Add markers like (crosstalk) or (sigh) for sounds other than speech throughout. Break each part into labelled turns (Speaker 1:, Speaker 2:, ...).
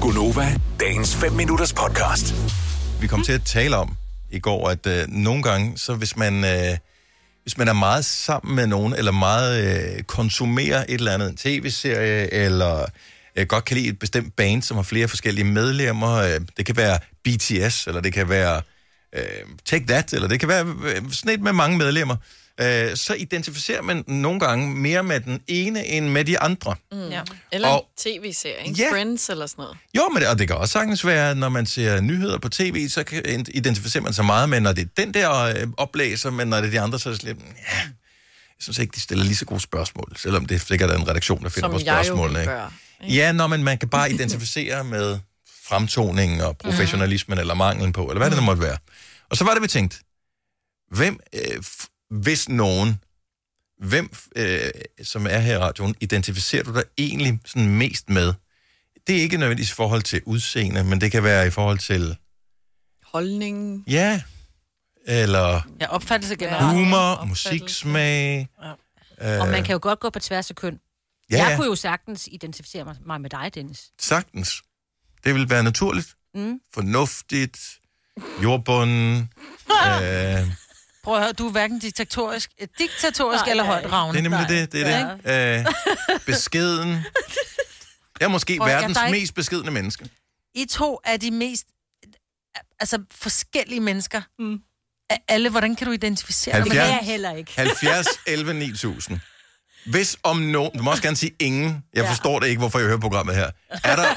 Speaker 1: Gunova, dagens 5 minutters podcast.
Speaker 2: vi kom til at tale om i går, at øh, nogle gange, så hvis man, øh, hvis man er meget sammen med nogen, eller meget øh, konsumerer et eller andet, en tv-serie, eller øh, godt kan lide et bestemt band, som har flere forskellige medlemmer, øh, det kan være BTS, eller det kan være øh, Take That, eller det kan være øh, sådan et med mange medlemmer, øh, så identificerer man nogle gange mere med den ene end med de andre. Mm.
Speaker 3: Ja. Eller
Speaker 2: Og-
Speaker 3: og... en tv-serie, ikke?
Speaker 2: Ja.
Speaker 3: Friends eller sådan noget.
Speaker 2: Jo, men det, og det kan også sagtens være, at når man ser nyheder på tv, så kan, identificerer man sig meget med, når det er den der øh, oplæser, men når det er de andre, så er det sådan lidt, ja, jeg synes ikke, de stiller lige så gode spørgsmål, selvom det sikkert er en redaktion, der finder
Speaker 3: Som
Speaker 2: på
Speaker 3: jeg jo
Speaker 2: spørgsmålene.
Speaker 3: ville
Speaker 2: ikke?
Speaker 3: gøre.
Speaker 2: Ja, når man, man kan bare identificere med fremtoningen og professionalismen eller manglen på, eller hvad det nu måtte være. Og så var det, vi tænkte, hvem, øh, f- hvis nogen, hvem, øh, som er her i radioen, identificerer du dig egentlig sådan mest med? Det er ikke nødvendigvis i forhold til udseende, men det kan være i forhold til,
Speaker 3: Holdningen.
Speaker 2: ja, eller
Speaker 4: Ja, opfattelse generelt.
Speaker 3: Ja.
Speaker 2: humor,
Speaker 3: opfattelse.
Speaker 2: musiksmag.
Speaker 5: Og man kan jo godt gå på tværs af køn.
Speaker 2: Ja,
Speaker 5: jeg
Speaker 2: ja,
Speaker 5: kunne jo sagtens identificere mig- mig med dig, Dennis.
Speaker 2: sagtens. Det vil være naturligt,
Speaker 5: Mm.
Speaker 2: fornuftigt,
Speaker 4: (laughs)
Speaker 2: jordbunden, øh,
Speaker 4: Prøv at høre, du er hverken diktatorisk, eh, diktatorisk
Speaker 5: Nej,
Speaker 4: eller
Speaker 5: nej.
Speaker 4: højt ravne.
Speaker 2: Det er nemlig det, det er det. Øh, beskeden. Jeg er måske
Speaker 4: Prøv, jeg-
Speaker 2: verdens
Speaker 4: der er ikke-
Speaker 2: mest beskedne menneske.
Speaker 4: I to er de mest altså, forskellige mennesker. Mm. Af alle, hvordan kan du identificere dig
Speaker 5: Men
Speaker 4: med
Speaker 5: det er
Speaker 2: Halvfjerds.
Speaker 5: jeg heller ikke.
Speaker 2: 70, 11, 9000. Hvis om nogen, du må også gerne sige ingen, jeg
Speaker 5: Ja.
Speaker 2: forstår det ikke, hvorfor jeg hører programmet her. Er der,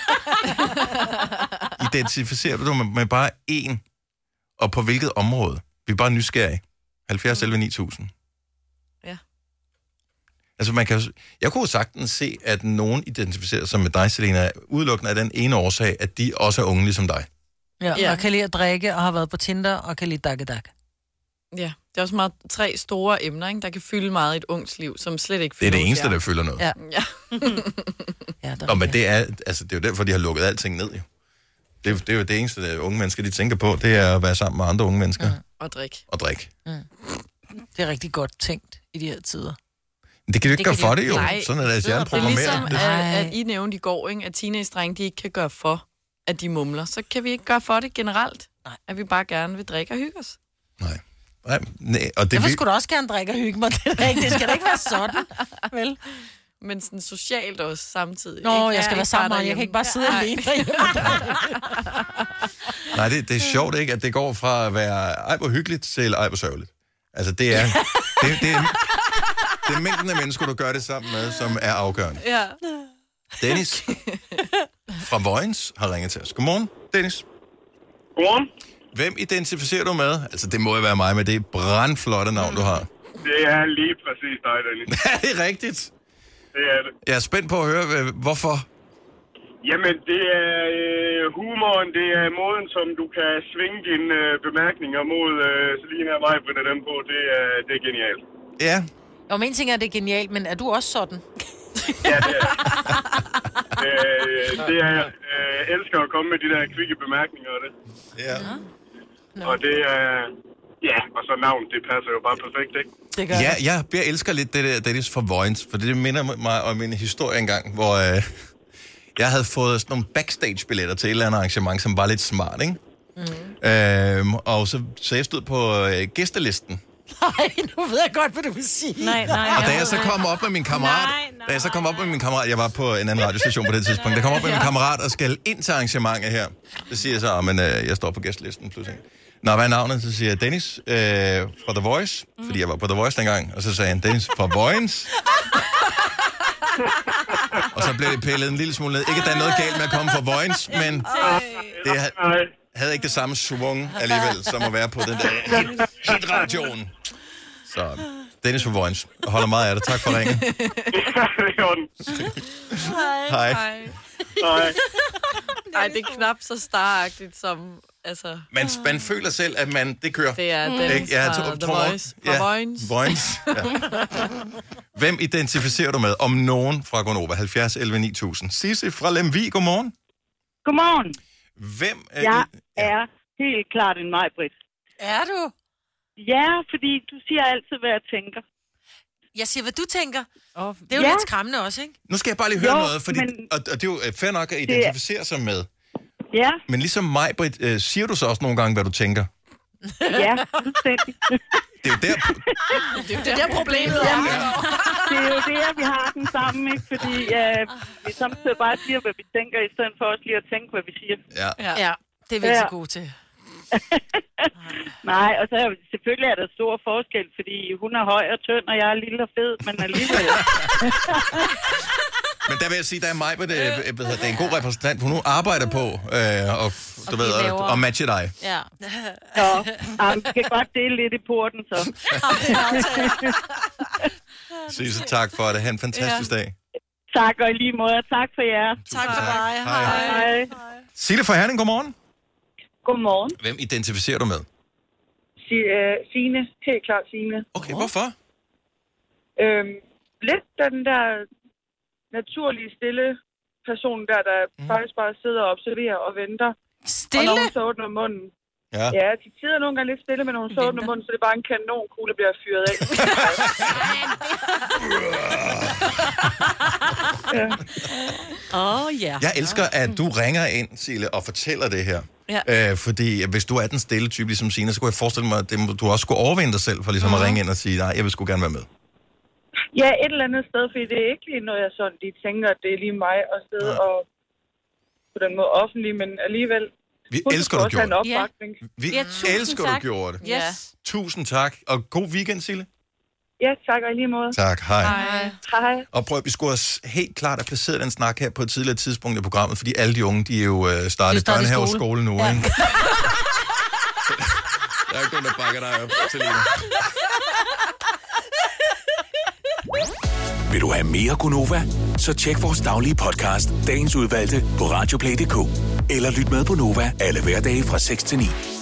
Speaker 2: identificerer du dig med, med bare en, og på hvilket område? Vi er bare nysgerrige. 70, 11, 9000.
Speaker 3: Ja.
Speaker 2: Altså man kan, jo s- jeg kunne jo sagtens se, at nogen identificerer sig med dig, Selena, udelukkende af den ene årsag, at de også er unge ligesom dig.
Speaker 4: Ja,
Speaker 3: Ja.
Speaker 4: og kan lide at drikke, og har været på Tinder, og kan lide dakke dakke.
Speaker 3: Ja, det er også meget tre store emner, ikke? der kan fylde meget i et ungs liv, som slet ikke
Speaker 2: Det er
Speaker 3: fylder
Speaker 2: det
Speaker 3: hos
Speaker 2: eneste,
Speaker 3: jer.
Speaker 2: der føler noget.
Speaker 4: Ja.
Speaker 3: Ja.
Speaker 4: Ja, der
Speaker 2: Og men det er, altså, det er jo derfor, de har lukket alting ned, jo. Det, er- det er jo det eneste, der unge mennesker, de tænker på, det er at være sammen med andre unge mennesker mm.
Speaker 3: Og drik.
Speaker 2: og drikke.
Speaker 4: det er rigtig godt tænkt i de her tider.
Speaker 2: Men Det kan du ikke
Speaker 5: Det
Speaker 2: gøre
Speaker 5: kan de
Speaker 2: for
Speaker 5: jo-
Speaker 2: det, altså, jo.
Speaker 3: Nej,
Speaker 2: Sådan er
Speaker 5: de
Speaker 2: deres
Speaker 5: sidder
Speaker 2: hjerne
Speaker 5: og
Speaker 3: Det er
Speaker 5: programmerer.
Speaker 2: programmeret.
Speaker 3: ligesom,
Speaker 2: Det-
Speaker 4: Ej.
Speaker 3: at, at I nævnte i går, ikke? at teenage-drenge, de ikke kan gøre for, at de mumler. Så kan vi ikke gøre for det generelt,
Speaker 4: Nej.
Speaker 3: at vi bare gerne vil drikke og hygge os.
Speaker 2: Nej. Nej, nej, og det
Speaker 4: Derfor
Speaker 2: vil...
Speaker 4: skulle du også gerne drikke og hygge mig. (laughs) Det, er da ikke, det skal da ikke være sådan, vel?
Speaker 3: Men sådan socialt også samtidig.
Speaker 4: Nå,
Speaker 3: ikke?
Speaker 4: jeg skal
Speaker 3: Ja,
Speaker 4: være sammen med, jeg kan ikke bare sidde
Speaker 3: derhjemme.
Speaker 4: alene (laughs) derhjemme.
Speaker 2: Nej, det, det er sjovt, ikke? At det går fra at være ej, hvor hyggeligt til ej, hvor sørgeligt. Altså, det er... Det, det, er det er mængden af mennesker, du gør det sammen med, som er afgørende.
Speaker 3: Ja. Ja.
Speaker 2: Dennis fra Vojens har ringet til os. Godmorgen, Dennis.
Speaker 6: Godmorgen.
Speaker 2: Hvem identificerer du med? Altså, det må jo være mig med det brandflotte navn, du har. (laughs)
Speaker 6: Det er lige præcis dig, Dennis.
Speaker 2: Er det rigtigt?
Speaker 6: Det er det.
Speaker 2: Jeg er spændt på at høre, øh, hvorfor.
Speaker 6: Jamen, det er øh, humoren, det er måden, som du kan svinge dine øh, bemærkninger mod øh, Selina og mig, Britta, dem på. Det er, det er genialt.
Speaker 2: Ja,
Speaker 4: Jo, men en ting er, at det er genialt, men er du også sådan?
Speaker 6: Ja, det er det. øh, det. Er, øh, jeg elsker at komme med de der kvikke bemærkninger og det.
Speaker 2: ja.
Speaker 6: Og det er... Ja, og så navn, det passer jo bare perfekt, ikke?
Speaker 4: Det gør
Speaker 2: ja jeg, jeg elsker lidt det der Dennis fra Vojens, for det minder mig om en historie engang, hvor øh, jeg havde fået sådan nogle backstage-billetter til et eller andet arrangement, som var lidt smart, ikke? Mm. Øhm, og så, så jeg stod på øh, gæstelisten,
Speaker 4: Nej, nu ved jeg godt, hvad du vil sige.
Speaker 5: Nej, nej.
Speaker 2: og da jeg så kom op med min kammerat,
Speaker 5: Nej, nej,
Speaker 2: da jeg så kom op med min kammerat, jeg var på en anden radiostation på det tidspunkt, der kom op
Speaker 5: (laughs)
Speaker 2: med min kammerat og skal ind til arrangementet her. Så siger jeg så, men øh, jeg står på gæstlisten pludselig. Nå, hvad er navnet? Så siger jeg Dennis øh, fra The Voice,
Speaker 5: Mm.
Speaker 2: fordi jeg var på The Voice dengang. Og så sagde han, Dennis fra
Speaker 5: (laughs)
Speaker 2: Vojens. og så blev det pillet en lille smule ned. Ikke, at der er noget galt med at komme fra Vojens, men det ha-
Speaker 6: Nej. (laughs)
Speaker 2: havde ikke det samme svung alligevel, som at være på
Speaker 3: (laughs)
Speaker 2: den der hit, hitradioen. Så Dennis fra Vojens. Jeg holder meget af dig. Tak for
Speaker 3: (laughs)
Speaker 2: ringen.
Speaker 6: det er den.
Speaker 2: Hej.
Speaker 3: Ej.
Speaker 6: Nej.
Speaker 3: Ej, det er knap så staragtigt som, altså,
Speaker 2: Man, man føler selv, at man, det kører.
Speaker 3: det er den
Speaker 2: Mm. Ikke? Ja, jeg
Speaker 3: fra
Speaker 2: tror-
Speaker 3: The
Speaker 2: tror-
Speaker 3: Voice. Fra Vojens.
Speaker 2: Vojens,
Speaker 3: (laughs)
Speaker 2: ja. Hvem identificerer du med? Om nogen fra Gonova. 70 11 9000. Sisse fra Lemvi, godmorgen.
Speaker 7: Godmorgen.
Speaker 2: Hvem er...
Speaker 7: Jeg
Speaker 2: Ja.
Speaker 7: er helt klart en mig, Britt.
Speaker 4: Er du?
Speaker 7: Ja, fordi du siger altid, hvad jeg tænker.
Speaker 4: Jeg siger, hvad du tænker.
Speaker 5: Og
Speaker 4: Det er jo ja.
Speaker 7: Ja.
Speaker 4: lidt skræmmende også, ikke?
Speaker 2: Nu skal jeg bare lige høre
Speaker 7: Jo,
Speaker 2: noget, fordi, men...
Speaker 7: men-
Speaker 2: og, og det er jo fair nok at identificere sig med.
Speaker 7: Ja,
Speaker 2: Men ligesom mig, Britt, øh, siger du så også nogle gange, hvad du tænker?
Speaker 7: ja, fuldstændig.
Speaker 2: Det er jo der,
Speaker 3: Det er der problemet er.
Speaker 7: Det er jo det, at vi har den sammen, ikke? Fordi øh, vi samtidig bare siger, hvad vi tænker, i stedet for også lige at tænke, hvad vi siger.
Speaker 2: ja.
Speaker 4: Ja, det er vi ikke så
Speaker 7: Ja.
Speaker 4: gode til.
Speaker 7: Nej, og så er selvfølgelig er der stor forskel, fordi hun er høj og tynd, og jeg er lille og fed, men alligevel...
Speaker 2: Men der vil jeg sige, der er mig, det, øh, det er en god repræsentant, for hun arbejder på øh, og, du
Speaker 5: Og
Speaker 2: ved,
Speaker 5: blive
Speaker 2: og,
Speaker 5: lavere.
Speaker 2: og matche dig.
Speaker 5: Ja.
Speaker 7: Nå, jamen, vi kan godt dele lidt i porten, så.
Speaker 2: Sisse, tak for det. Ha' en fantastisk ja. dag.
Speaker 7: Tak, og i lige måde, og tak for jer.
Speaker 2: Tak for dig. Hej.
Speaker 7: Hej.
Speaker 2: Sille fra Herning, godmorgen.
Speaker 7: Godmorgen.
Speaker 2: Hvem identificerer du med?
Speaker 7: Si- øh, Signe, helt klart Signe.
Speaker 2: Okay, hvorfor?
Speaker 7: Øhm, lidt den der naturlige, stille person der, der mm. faktisk bare sidder og observerer og venter. Og når
Speaker 4: Stille?
Speaker 7: hun så åbner munden.
Speaker 2: Ja.
Speaker 7: Ja, de sidder nogle gange lidt stille, men når hun så åbner munden, så det er bare en kanonkugle, der bliver fyret af.
Speaker 5: Åh, ja.
Speaker 2: Jeg elsker, at du ringer ind, Sille, og fortæller det her. Ja.
Speaker 3: Ja.
Speaker 2: Øh, fordi hvis du er den stille type, ligesom Signe, så kunne jeg forestille mig, at det må- du også skulle overvinde dig selv for ligesom mm. at ringe ind og sige, nej, jeg vil sgu gerne være med.
Speaker 7: ja, et eller andet sted, fordi det er ikke lige noget, jeg sådan lige tænker, at det er lige mig at sidde
Speaker 2: Nej.
Speaker 7: og på den måde offentlig, men alligevel...
Speaker 2: Vi
Speaker 7: Hun
Speaker 2: elsker,
Speaker 7: skal
Speaker 2: du
Speaker 7: også have
Speaker 2: gjorde
Speaker 7: en
Speaker 2: det.
Speaker 5: Ja.
Speaker 7: opbakning. Ja.
Speaker 2: Vi
Speaker 5: Ja, tusind
Speaker 2: elsker, du
Speaker 5: tak.
Speaker 2: gjorde det.
Speaker 5: Yes.
Speaker 2: Tusind tak, og god weekend, Sille.
Speaker 7: ja, tak og i lige måde.
Speaker 2: Tak, hej.
Speaker 3: Hej.
Speaker 7: Hej.
Speaker 2: Og prøv, at- vi skulle også helt klart have placeret den snak her på et tidligere tidspunkt i programmet, fordi alle de unge, de er jo øh, startet i
Speaker 4: startet i
Speaker 2: børnehave og
Speaker 4: skole.
Speaker 2: skole nu, ja. (laughs) ikke? Så Der er ikke nogen, der bakker dig op, Selina.
Speaker 1: Vil du have mere Gunova? Så tjek vores daglige podcast, dagens udvalgte, på radioplay.dk. Eller lyt med på Nova alle hverdage fra 6 til 9.